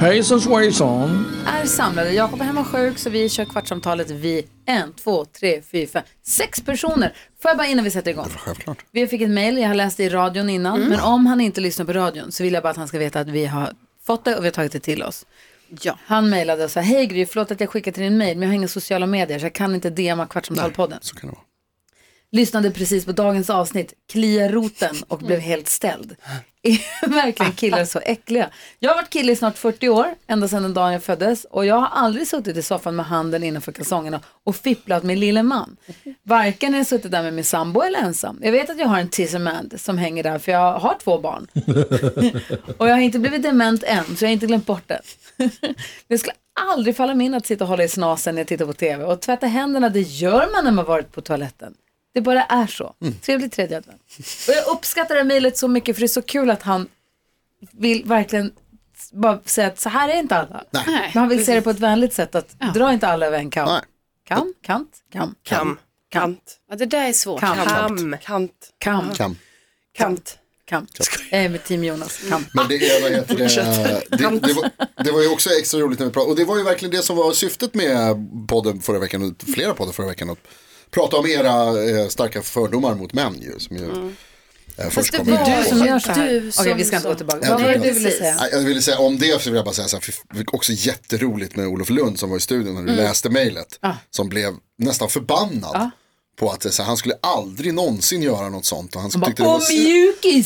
Hejsan svejsan. är samlade. Jakob är hemma sjuk så vi kör kvartsamtalet vi en, två, tre, fyra, fem, sex personer. Får jag bara innan vi sätter igång. Självklart. Vi fick ett mejl, jag har läst det i radion innan. Men om han inte lyssnar på radion så vill jag bara att han ska veta att vi har fått det och vi har tagit det till oss. Ja. Han mejlade och sa, hej Gry, förlåt att jag skickat till din mejl men jag har inga sociala medier så jag kan inte DMa Kvartsamtalpodden. Så kan det vara. lyssnade precis på dagens avsnitt, klia roten och blev helt ställd. Är verkligen killar så äckliga? Jag har varit kille i snart 40 år, ända sedan den dagen jag föddes och jag har aldrig suttit i soffan med handen innanför kalsongerna och fipplat med lille man. Varken när jag suttit där med min sambo eller ensam. Jag vet att jag har en tissemand som hänger där för jag har två barn. Och jag har inte blivit dement än, så jag har inte glömt bort det. Det skulle aldrig falla mig in att sitta och hålla i snasen när jag tittar på TV. Och tvätta händerna, det gör man när man varit på toaletten. Det bara är så. Trevlig tredje advent. Och jag uppskattar det här mejlet så mycket för det är så kul att han vill verkligen s- bara säga att så här är inte alla. Nej. Men han vill se det på ett vänligt sätt att dra inte alla över en kam. Nej. Kam, kant, kam, Kam. Kant. Ja, det där är svårt. Kam. Kam. Kant. kam, Kam. Kant. kam. Jag är Eh, med team Jonas, kam. Men det är, vad heter det, det, det, var, det var ju också extra roligt när vi pratade. Och det var ju verkligen det som var syftet med podden förra veckan. Och flera poddar förra veckan. Att prata om era eh, starka fördomar mot män ju. Som ju Mm. eh, först det kommer var in ju på. Som gör så Du här. som Okej, vi ska inte så. gå tillbaka. Ja, Vad var det det- du ville säga? Nej, Jag ville säga om det så vill jag bara säga så här, för- för- också jätteroligt med Olof Lund som var i studion när du Mm. läste mejlet. Som blev nästan förbannad på att så här, han skulle aldrig någonsin göra något sånt. Och han tyckte det var Och så-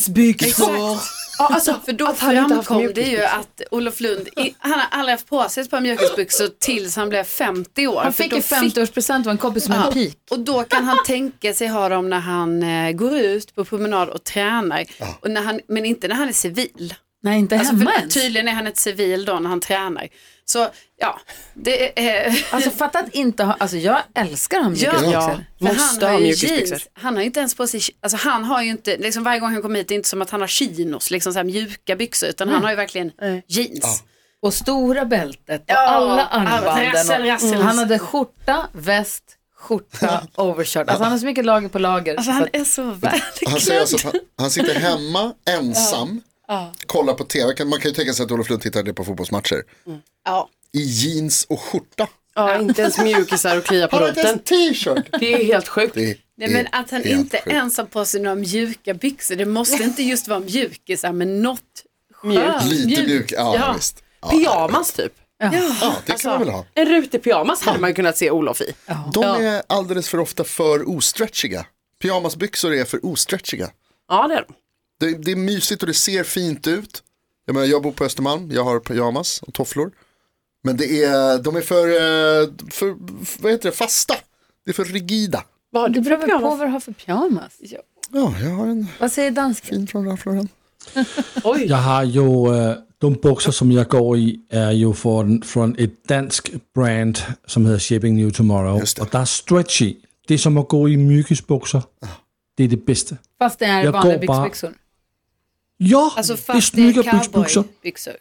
mjukisbyxor! Exakt. Ja, alltså, för då Att han inte haft framkom det mjukisbyxor. ju att Olof Lund, i- han har aldrig haft på sig ett par mjukisbyxor tills han blev 50 år. Han För fick då ju 50-årspresent av en kompis som en pik. Och då kan han tänka sig ha dem när han eh, går ut på promenad och tränar. Och när han, men inte när han är civil. Nej, inte Alltså, hemma för ens. tydligen är han ett civil då när han tränar. Så ja, det är... eh, Alltså fatta att inte ha, alltså jag älskar honom mjukisbyxor. för Måste ha han har ju mjukisbyxor. jeans. Han har inte ens på sig, alltså han har ju inte, liksom varje gång han kommer hit, det är inte som att han har chinos, liksom så här mjuka byxor, utan han har ju verkligen jeans. Och stora bältet och Ja, alla allt. Rassel, armbanden. rassel. Och, Mm. han hade skjorta, väst, skjorta, overshirt. Alltså han har så mycket lager på lager. Alltså så han att- är så Han, säger välklädd. alltså, att han, han sitter hemma ensam, kollar på tv. Kan- Man kan ju tänka sig att Olof Lund tittade på fotbollsmatcher. Mm. Ja. I jeans och skjorta. Ja, inte ens mjukisar och klia på Har han inte roten. ens t-shirt? Det är helt sjukt. Det är Nej, men att han helt inte sjukt. ens har på sig några mjuka byxor, det måste inte just vara mjukisar, men något Mjuk. Lite mjuk- mjuk, ja, Ja. visst. Ja, Pyjamas typ. Ja, det kan Alltså, man väl ha. En rutig pyjamas hade man ju kunnat se Olof i. De är alldeles för ofta för ostretchiga. Pyjamasbyxor är för ostretchiga. Ja, det är de. Det, det är mysigt och det ser fint ut. Jag, menar, jag bor på Östermalm, jag har pyjamas och tofflor. Men det är, de är för, eh, för, vad heter det, fasta. Det är för rigida. Vad har Det du för beror väl på pyjamas? vad du har för pyjamas. Ja, jag har en Vad säger dansken? fin från Ralph Lauren. Oj, Jag har ju, eh, de byxor som jag går i är ju från, från ett dansk brand som heter Shipping New Tomorrow. Just det. Och där är stretchy. Det är som att gå i mjukisbyxor. Det är det bästa. Fast det är Jag vanliga går bara- byxbyxor. Ja, Alltså det är fast det snygga är byxbyxor. cowboybyxor.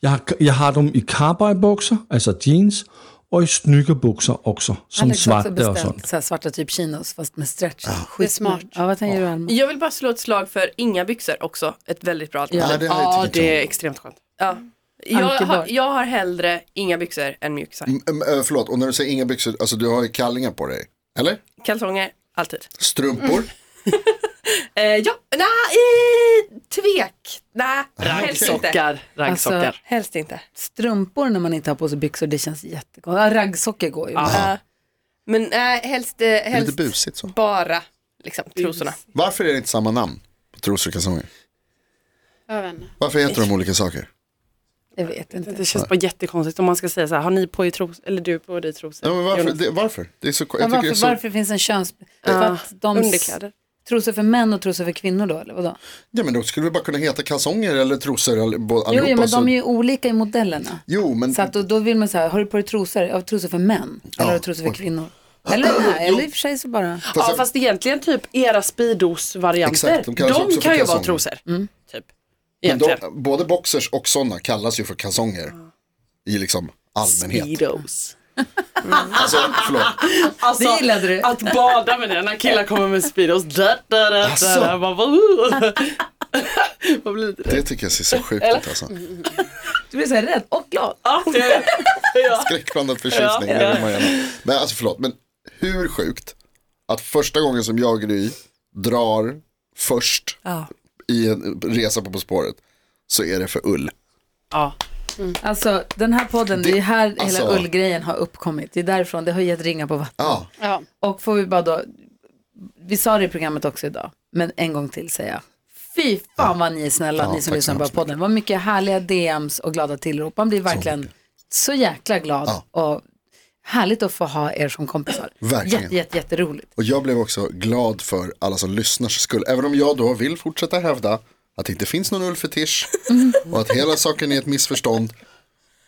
Jag, har- jag har dem i cowboybyxor, alltså jeans. Och i snygga byxor också, Han som har också svarta och beställt sånt. så här svarta typ chinos fast med stretch. Det är smart. Ja, vad tänker du Alma? Jag vill bara slå ett slag för inga byxor också. Ett väldigt bra alternativ. Ja, det har typ jag Ja, tyckt det är extremt skönt. Ja. Jag, Ankeborg. har, jag har hellre inga byxor än mjukisar. Mm, äh, Förlåt, och när du säger inga byxor, alltså du har ju kallingar på dig. Eller? Kalsonger, alltid. Mm. Strumpor? Eh, ja, nej, eh, tvek. Nej, helst inte. Raggsockar. Raggsockar. Alltså, Helst inte. strumpor när man inte har på sig byxor, det känns jättekonstigt. Ja, raggsockor går ju. Ja. Men nej, helst, eh, Det är lite helst busigt så. bara liksom, trosorna. Varför är det inte samma namn på trosor och kalsonger? Jag vet inte. Varför heter de olika saker? Jag vet inte. Det känns bara jättekonstigt om man ska säga så här, har ni på er tros, eller du på dig trosor? Ja, men varför? Jonas? Det, varför? Det är så, jag Ja, tycker det varför, är så, varför finns en köns... För att de Underkläder. Trosor för män och trosor för kvinnor då, eller vadå? Ja, men då skulle det bara kunna heta kalsonger eller trosor eller bo- Jo, allihopa. jo, men de är så, ju olika i modellerna. jo, men Så att då, då vill man säga, har du på dig trosor? Ja, trosor för män. Eller har du trosor för kvinnor? Eller nej, eller i och för sig så bara. fast Ja jag- fast egentligen typ era Speedos-varianter, Exakt, de, de kallas också för kan ju vara kalsonger. trosor. Typ. men de, Egentligen. både boxers och sådana kallas ju för kalsonger i liksom allmänhet. Speedos. Alltså, förlåt. Alltså, Det gillade du. Att bada med det när killar kommer med Speedos. Da, da, da, da, Alltså. da, man bara, uh. Man blir lite rädd. Det tycker jag ser så sjukt ut alltså. Du blir så här rädd och glad. Ja, det är det. Ja. Skräckblandad förtjusning. Ja, Ja, ja. Men alltså förlåt, men hur sjukt att första gången som jag Gry drar först i en resa på På spåret så är det för ull. Ja. Alltså den här podden, det, är här alltså- hela ullgrejen har uppkommit. Det är därifrån, det har gett ringa på vattnet. Ja, Ja. Och får vi bara då, vi sa det i programmet också idag, men en gång till säga. Fy fan vad ni är snälla, Ja, ni som tack lyssnar så på hemskt podden. Vad mycket härliga DMs och glada tillrop. Man blir verkligen så jäkla glad och härligt att få ha er som kompisar. Verkligen. Jätte, jätte, jätteroligt. och jag blev också glad för alla som lyssnar skull. Även om jag då vill fortsätta hävda att det inte finns någon ullfetisch och att hela saken är ett missförstånd.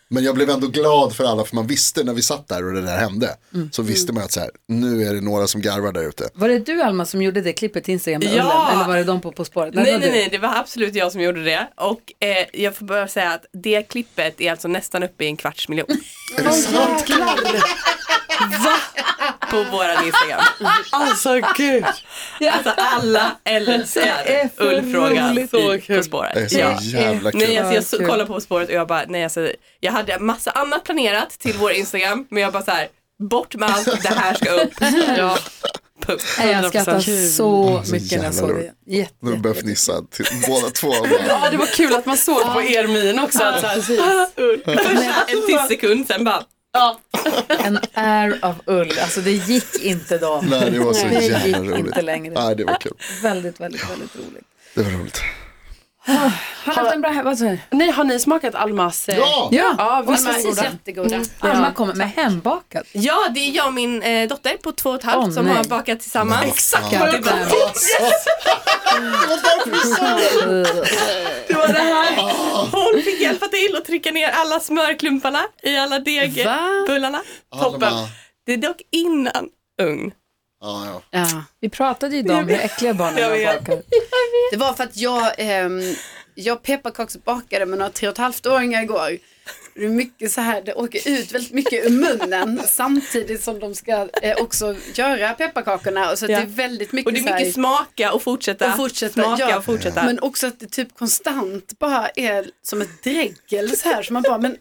Men jag blev ändå glad för alla, för man visste när vi satt där och det där hände. Så visste man att så här, nu är det några som garvar där ute. Var det du Alma som gjorde det klippet till Instagram med Ja! ullen? Eller var det de på På spåret? det Nej, var nej, du. nej, det var absolut jag som gjorde det. Och eh, jag får bara säga att det klippet är alltså nästan uppe i en kvarts miljon Är det sant? på våran Instagram. Alltså gud. Alltså alla Det är älskar för ullfrågan roligt. i På Det är spåret. så Ja. jävla kul. Nej, alltså, jag så, kul. kollade på spåret och jag bara, nej alltså, jag hade massa annat planerat till vår Instagram, men jag bara så här, bort med allt, det här ska upp. Ja. Punkt. Nej, Jag 100%. skrattar Mm. så så mycket när jag jävla såg det. roligt. Jätte, Nu börjar jag fnissa till båda två. Bara, Ja, det var kul att man såg på er min också. Att, så här, ah, ull. Först en till sekund, sen bara, ja. En air av ull. Alltså det gick inte då. Nej, det var så Det jävla gick roligt. inte längre. Nej, det var kul. Väldigt, väldigt, väldigt roligt. Det var roligt. Har du haft en bra he- vad sa du? Nej, har ni smakat Almas? eh, Ja! Ja, Ja, och vad så- smakar Precis, den? jättegoda. Alma kommer med hembakat. Ja, det är jag och min eh, dotter på två och ett halvt Åh, som nej. har bakat tillsammans. Exakt God det damn. var, det var det här. Hon fick hjälpa till att trycka ner alla smörklumparna i alla degbullarna. Toppen. de har- Det är dock innan ugn. Ja, ja. Ja. Vi pratade ju idag om hur äckliga Jag barnen vet. bakar. Det var för att jag, ehm, jag pepparkaksbakade med några tre och ett halvt åringar igår. Det är mycket så här, det åker ut väldigt mycket ur munnen samtidigt som de ska eh, också göra pepparkakorna. Och Så att Ja. det är väldigt mycket Och det är så här, mycket smaka och fortsätta. Och fortsätta, smaka ja. och fortsätta. Men också att det typ konstant bara är som ett dregel så här. Så man bara, men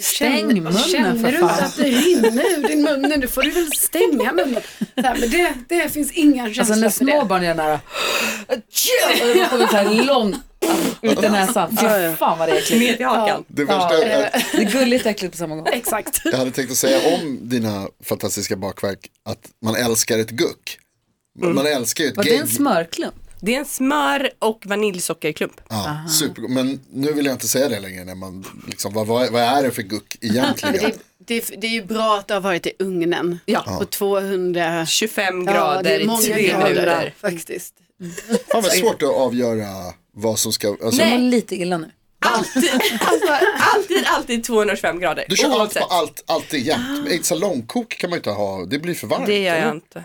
Stäng känner- munnen Känner för du fan. inte att det rinner ur din mun nu? Nu får du väl stänga munnen. Så här, men det, det finns inga Alltså känslor när för det. små barn gör den här. Och det kommer så här långt ut i näsan. Fy fan vad det är äckligt. Ner till hakan. Det värsta är att Det är gulligt och äckligt på samma gång. Exakt. jag hade tänkt att säga om dina fantastiska bakverk att man älskar ett guck. Man älskar ju Mm. ett Var det en gegg. smörklump? Det är en smör och vaniljsockerklump. Ja, supergott. Men nu vill jag inte säga det längre. När man, liksom, vad, vad, vad är det för guck Det, egentligen? det, det är ju bra att det har varit i ugnen. Ja. På 200 25 ja, det grader är i många tre minuter. grader faktiskt. Fan vad svårt att avgöra vad som ska... Alltså, Jag mår lite illa nu. Alltid, alltså, alltid, alltid 205 grader. Du kör allt på oavsett. allt, alltid jämt. Men ett salongkok kan man ju inte ha, det blir för varmt. Det gör jag inte.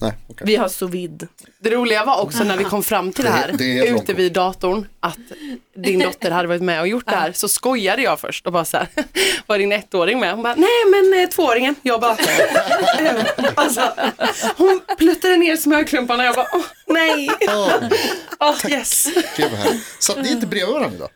Nej, okej. Vi har sous vide. Det roliga var också när vi kom fram till det här Det- det är ute vid datorn att din dotter hade varit med och gjort det här så skojade jag först och bara så här, var din ettåring med? Hon bara, nej men eh, tvååringen, jag bara, eh, alltså, hon pluttade ner smörklumparna jag bara, åh nej, Ja, oh, yes. det var här. Satt ni inte bredvid varandra idag?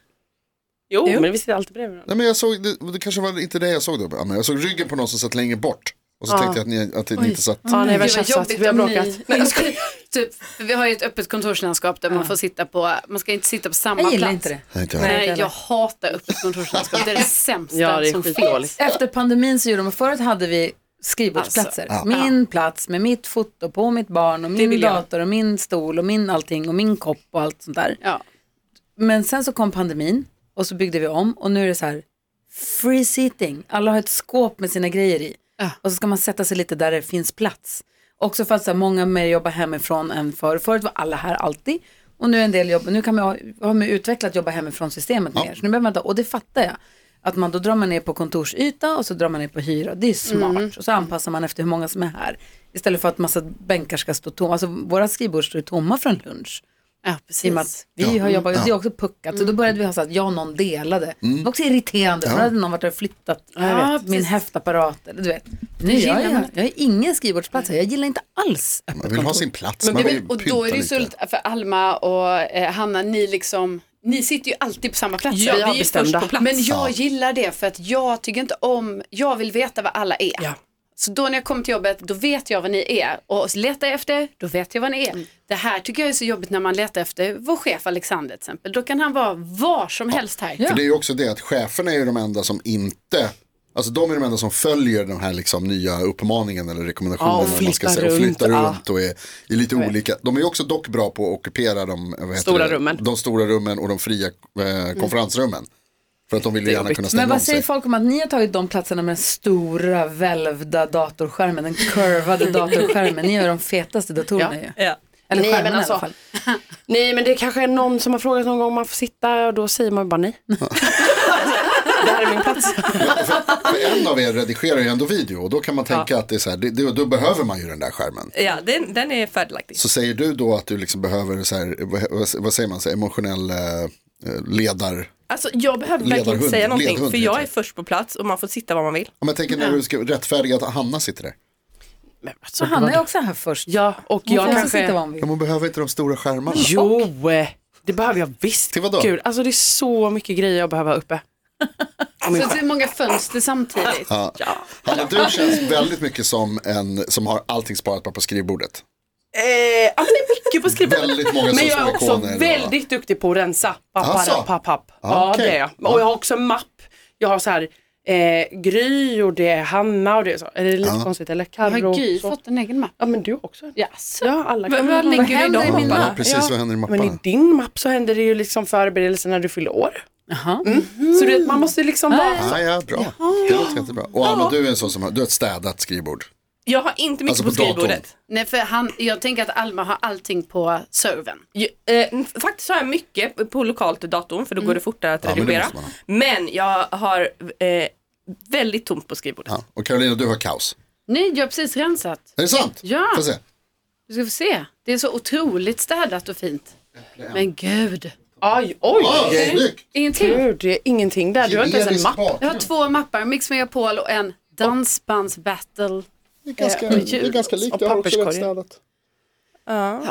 Jo, men vi sitter alltid bredvid varandra. Nej, men jag såg, det, det kanske var inte det jag såg då. Ja, men jag såg ryggen på någon som satt längre bort. Och så tänkte jag att ni, att ni inte satt. Ja, nej, "Mm, vad Gud, vad tjafsat, jobbigt vi har om bråkat. ni- typ, för vi har ju ett öppet kontorslandskap där man får sitta på, man ska inte sitta på samma Jag gillar plats. inte det. Nej, inte jag. Nej, jag hatar öppet kontorslandskap. Det är det sämsta Ja, det är som finns. skitdåligt. Efter pandemin så gjorde de, förut hade vi skrivbordsplatser. Min plats med mitt foto på mitt barn och min Alltså, vill jag. dator och min stol och min allting och min kopp och allt sånt där. Ja. Men sen så kom pandemin och så byggde vi om och nu är det så här free seating. Alla har ett skåp med sina grejer i. Och så ska man sätta sig lite där det finns plats. Också för att så här, många mer jobbar hemifrån än förr. Förut var alla här alltid. Och nu är en del jobb, nu kan man, ha- har man utvecklat jobba hemifrån systemet mer. Så nu behöver man inte, och det fattar jag. Att man då drar man ner på kontorsyta och så drar man ner på hyra. Det är smart. Mm. Och så anpassar man efter hur många som är här. Istället för att massa bänkar ska stå tomma. Alltså våra skrivbord står ju tomma från lunch. Ja, I och med att vi har jobbat, det är också puckat. Så då Mm. började vi ha så att jag och någon delade. Det var också irriterande, för då Ja. hade någon varit där och flyttat jag Ja, vet, min precis. häftapparat. Eller, du vet. Nu Det gillar jag, jag, man. jag har ingen skrivbordsplats här, jag gillar inte alls öppet Man vill ha kontor. sin plats. Men man det- vill Och då är det ju så lite- för Alma och eh, Hanna, ni liksom ni sitter ju alltid på samma plats. Ja, Vi vi är är ju bestämda. först på plats. Men jag Ja. gillar det för att jag tycker inte om, jag vill veta vad alla är. Så då när jag kommer till jobbet, då vet jag vad ni är. Och så letar jag efter, då vet jag vad ni är. Det här tycker jag är så jobbigt när man letar efter vår chef Alexander till exempel. Då kan han vara var som helst här. För det är ju också det att cheferna är ju de enda som inte, alltså de är de enda som följer den här liksom nya uppmaningen eller rekommendationen. Ja, och eller vad man ska flyttar säga, och runt, flyttar ja. runt och är, är lite olika. De är ju också dock bra på att ockupera de, vad heter Stora det? rummen. Mm. de stora rummen och de fria eh, konferensrummen. För att de vill ju gärna kunna Men stänga om vad säger sig. folk om att ni har tagit de platserna med den stora välvda datorskärmen, den curvade datorskärmen. Ni är de fetaste datorerna ju. Ja. nej, Eller men skärmarna i alla alltså, nej men det kanske är någon som har frågat någon gång om man får sitta och då säger man bara nej. det här är min plats. För en av er redigerar ju ändå video och då kan man tänka att det är så här, det, det, då behöver man ju den där skärmen. Ja, den, den är fördelaktig. Så säger du då att du liksom behöver så här, vad- vad, vad säger man, så här, emotionell eh, eh, ledar... Alltså jag behöver verkligen Ledarhund, inte säga någonting ledhund för jag heter är först på plats och man får sitta var man vill. Om jag tänker när du ska rättfärdiga att Hanna sitter där. Så Hanna är också här först. Ja, och Hon får jag också kanske... sitta var hon vill. Ja, man behöver inte de stora skärmarna. Jo, eh, det behöver jag visst. Till vadå? Gud, alltså det är så mycket grejer jag behöver ha uppe. Så att det är många fönster samtidigt. Ja. Hanna, du känns väldigt mycket som en som har allting sparat bara på skrivbordet. Eh, alltså det är mycket på skrivbordet. Väldigt många Men jag är socioekonomer också eller vad? väldigt duktig på att rensa. Papp, Asså? papp, papp, papp. Ja, Ja, okej. det är jag. Och jag har också en mapp. Jag har så här eh, Gry och det är Hanna och det är så. Är det lite Ja. konstigt? Eller Carro? Har Gry så. fått en egen mapp? Ja, men du också. Yes. Ja, alla Vad- kan vad ha- lägger du i de min mapparna? mapp? Precis, vad händer i mapparna? Men i din mapp så händer det ju liksom förberedelser när du fyller år. Mm. Så du vet, man måste liksom vara... Ja, ja, bra. Det låter jättebra. Och Anna, du är en sån som har, du har ett städat skrivbord. Jag har inte mycket Alltså på, på datorn. skrivbordet. Nej, för han, jag tänker att Alma har allting på servern. Ju- eh, faktiskt har jag mycket på lokalt i datorn för då går det fortare att Mm. Ja, men det redigera. måste man ha. Men, jag har eh, väldigt tomt på skrivbordet. Ja. Och Carolina, du har kaos. Nej, jag har precis rensat. Är det sant? Ja. Får jag se. Du ska få se. Det är så otroligt städat och fint. Men gud. Aj, oj! Ja, snyggt. Ingenting. Gud, det är ingenting där. Du har inte ens en mapp. Jag har två mappar, Mix Megapol och en dansbandsbattle. Det är eh, ganska- det är ganska likt. Jag har också städat.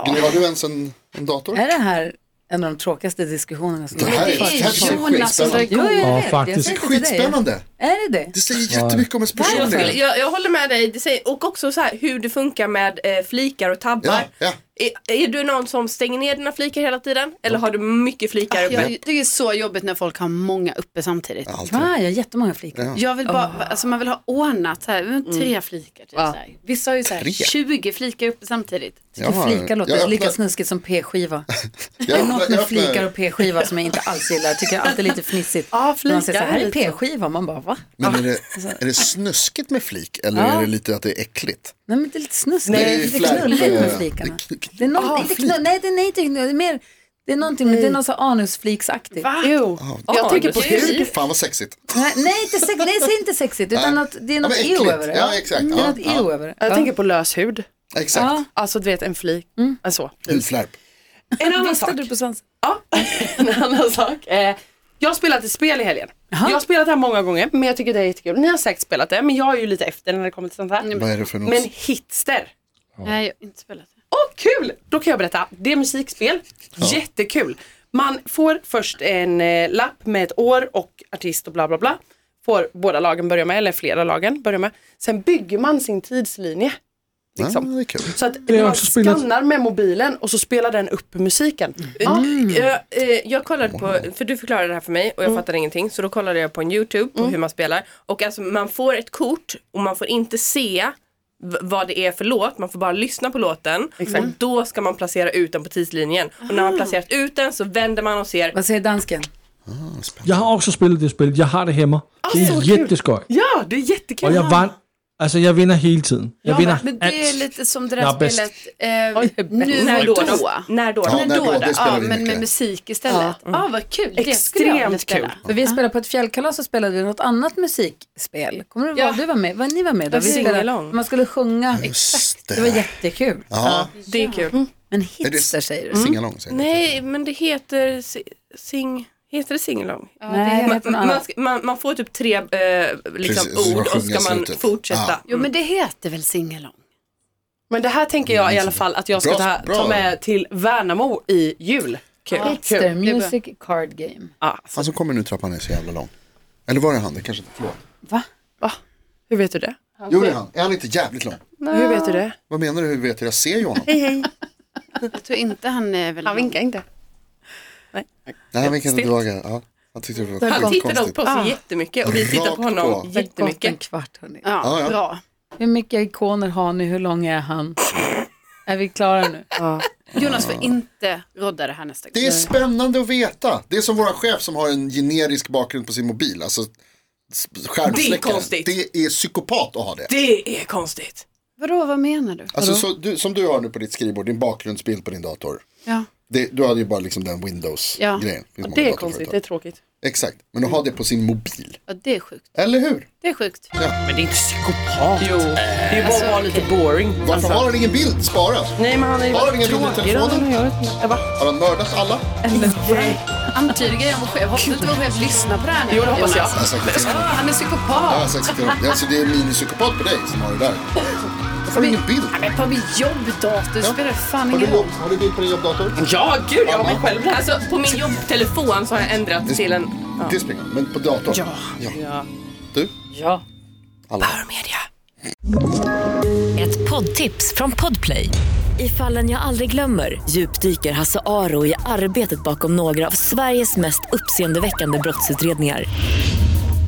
Gry, har du ens en, en dator? Är det här en av de tråkigaste diskussionerna som Det här är- det här är Jonas som drar igång. skitspännande. Jo, jag Ja, vet. Jag faktiskt. säger inte till dig. Skitspännande. Är det det? Det säger jättemycket om ens Jag, personlighet. jag, jag håller med dig det säger, och också så här, hur det funkar med eh, flikar och tabbar. Ja, ja. Är, är du någon som stänger ner dina flikar hela tiden eller har du mycket flikar uppe? Jag tycker det är så jobbigt när folk har många uppe samtidigt. Va, Ah, jag har jättemånga flickor. Jag vill bara, alltså man vill ha ordnat så här, mm, tre flikar. Typ, så här. Vissa har ju så här, Tre? 20 flikar uppe samtidigt. Jag har- flikar låter jag öppnar- lika snuskigt som p-skiva. Jag Det är öppnar- något jag med öppnar- flikar och p-skiva som jag inte alls gillar. Jag tycker alltid är lite fnissigt. Ja, När man flikar säger så här, här är lite. p-skiva. Man bara, va? Men är det, är det snuskigt med flik eller Ja. är det lite att det är äckligt? Nej, men det är lite snuskigt. Nej, det är lite flärp, knulligt med eh, flikarna. det Det är något, inte knull, nej, det är, nej, det är, det är mer, det är någonting, med- det är något så anusfliksaktigt. Va? Jo. Ja, Jag tänker på det är- hud. Fan vad sexigt. Nej, nej, inte sex, nej, säg inte sexigt, utan Nej. att det är Ja, något men eo äckligt. över det. Ja, exakt. Det Ja, är något ja. eo över det. Jag tänker på lös hud. Exakt. Ja. Alltså du vet en flik. Mm. Alltså. Hudflärp. En annan Visste sak. du på svenska? En annan sak. Eh, jag har spelat ett spel i helgen. Jag har spelat det här många gånger men jag tycker det är jättekul. Ni har säkert spelat det men jag är ju lite efter när det kommer till sånt här. Mm. Vad är det för något? Men Hitster. Nej, jag har inte spelat det. Åh kul! Då kan jag berätta. Det är musikspel. Jättekul. Man får först en eh, lapp med ett år och artist och bla bla bla. Får båda lagen börja med, eller flera lagen börja med. Sen bygger man sin tidslinje. Liksom. Ja, det är kul. Så att har jag man också spelat. skannar med mobilen och så spelar den upp musiken. Jag, eh, jag kollade på, för du förklarade det här för mig och jag fattade ingenting så då kollade jag på en YouTube på hur man spelar och alltså man får ett kort och man får inte se v- vad det är för låt, man får bara lyssna på låten och då ska man placera ut den på tidslinjen. Och när man placerat ut den så vänder man och ser. Vad säger dansken? Jeg har også spillet det spil. Jeg har det hemma. det er jätteskoj. Ja, det är jättekul. Og jeg vann. Altså, jeg vinder hele tiden. Jeg Ja, vinder men det är alt. lite som det Jag där är bäst. spelet, eh, nu När och då? då. När då? Ja, Ja, när när då, då, det där. spelar ja vi men mycket. med musik istället. Ja, vad kul. Det skulle jag vilja Extremt spela. För vi spelade på ett fjällkalas och spelade vi något annat musikspel. Kommer du ihåg? Du var med, var ni var med då? Det var Vi spelade, singalong. man skulle sjunga. Exakt. Det var jättekul. Mm. Ja. Det är kul. Men hitser säger du? Singalong säger du. Nej, men det heter si- sing... Heter det singalong? det heter man, något man, annat. ska- man, man får typ tre eh, liksom, Precis, så ord sjunga och ska man slutet. fortsätta. Jo men det heter väl singalong? Men det här tänker jag i alla fall att jag ska Bra, ta, ta bra. med till Värnamo i jul. Kul. Hitster, music card game. Ja, Han som kommer nu trappan är så jävla lång. Eller var det han? Det kanske inte förlåt. Va? hur vet du det? Jo det är han. Är han inte jävligt lång? Hur vet du det? Vad menar du? Hur vet jag? Jag ser ju honom. Jag tror inte han är väl... Han vinkar inte. Nej han vinkade Stilt. tillbaka. Ja. Han tyckte det var Han tittar dock skitkonstigt. på oss jättemycket och vi tittar Rakt på honom på. Det har gått en jättemycket. kvart hörni. Ja, Ja, ja. bra. Hur mycket ikoner har ni? Hur lång är han? Är vi klara nu? Jonas får inte rodda det här nästa gång. Det är spännande att veta. Det är som vår chef som har en generisk bakgrund på sin mobil. Alltså s- skärmsläckaren. Det är konstigt. Det är psykopat att ha det. Det är konstigt. Vadå, vad menar du? Alltså så, du, som du har nu på ditt skrivbord, din bakgrundsbild på din dator. Ja. Det, du hade ju bara liksom den Windows-grejen. Finns många Det är datorföretag. konstigt, det är tråkigt. Exakt, men att ha det på sin mobil. ja, det är sjukt. Eller hur? Det är sjukt. Men det är inte psykopat. Jo, det är ju bara att vara lite boring. Varför har han ingen bild sparad? Alltså- Nej men han är ju Har han ingen bild i telefonen? telefonen? Har han mördat alla? Antyder grejen om vår chef. Hoppas inte vår chef lyssnar på det här nu. Jo, det hoppas jag. Jonas. Jag har sagt det till Ja, honom. han är Jag psykopat. har sagt det till honom. Alltså det är minipsykopat på dig som har det där. Varför har du ingen bild? Ja, men på min jobbdator spelar det fan Har du, ingen roll. har du bild på din jobbdator? Ja, gud jag har mig själv där. Alltså på min jobbtelefon så har jag ändrat till en... Ja. Det spelar ingen roll, men på datorn? Ja. Ja. Du? Ja. Alla. Ett poddtips från Podplay. I fallen jag aldrig glömmer djupdyker Hasse Aro i arbetet bakom några av Sveriges mest uppseendeväckande brottsutredningar.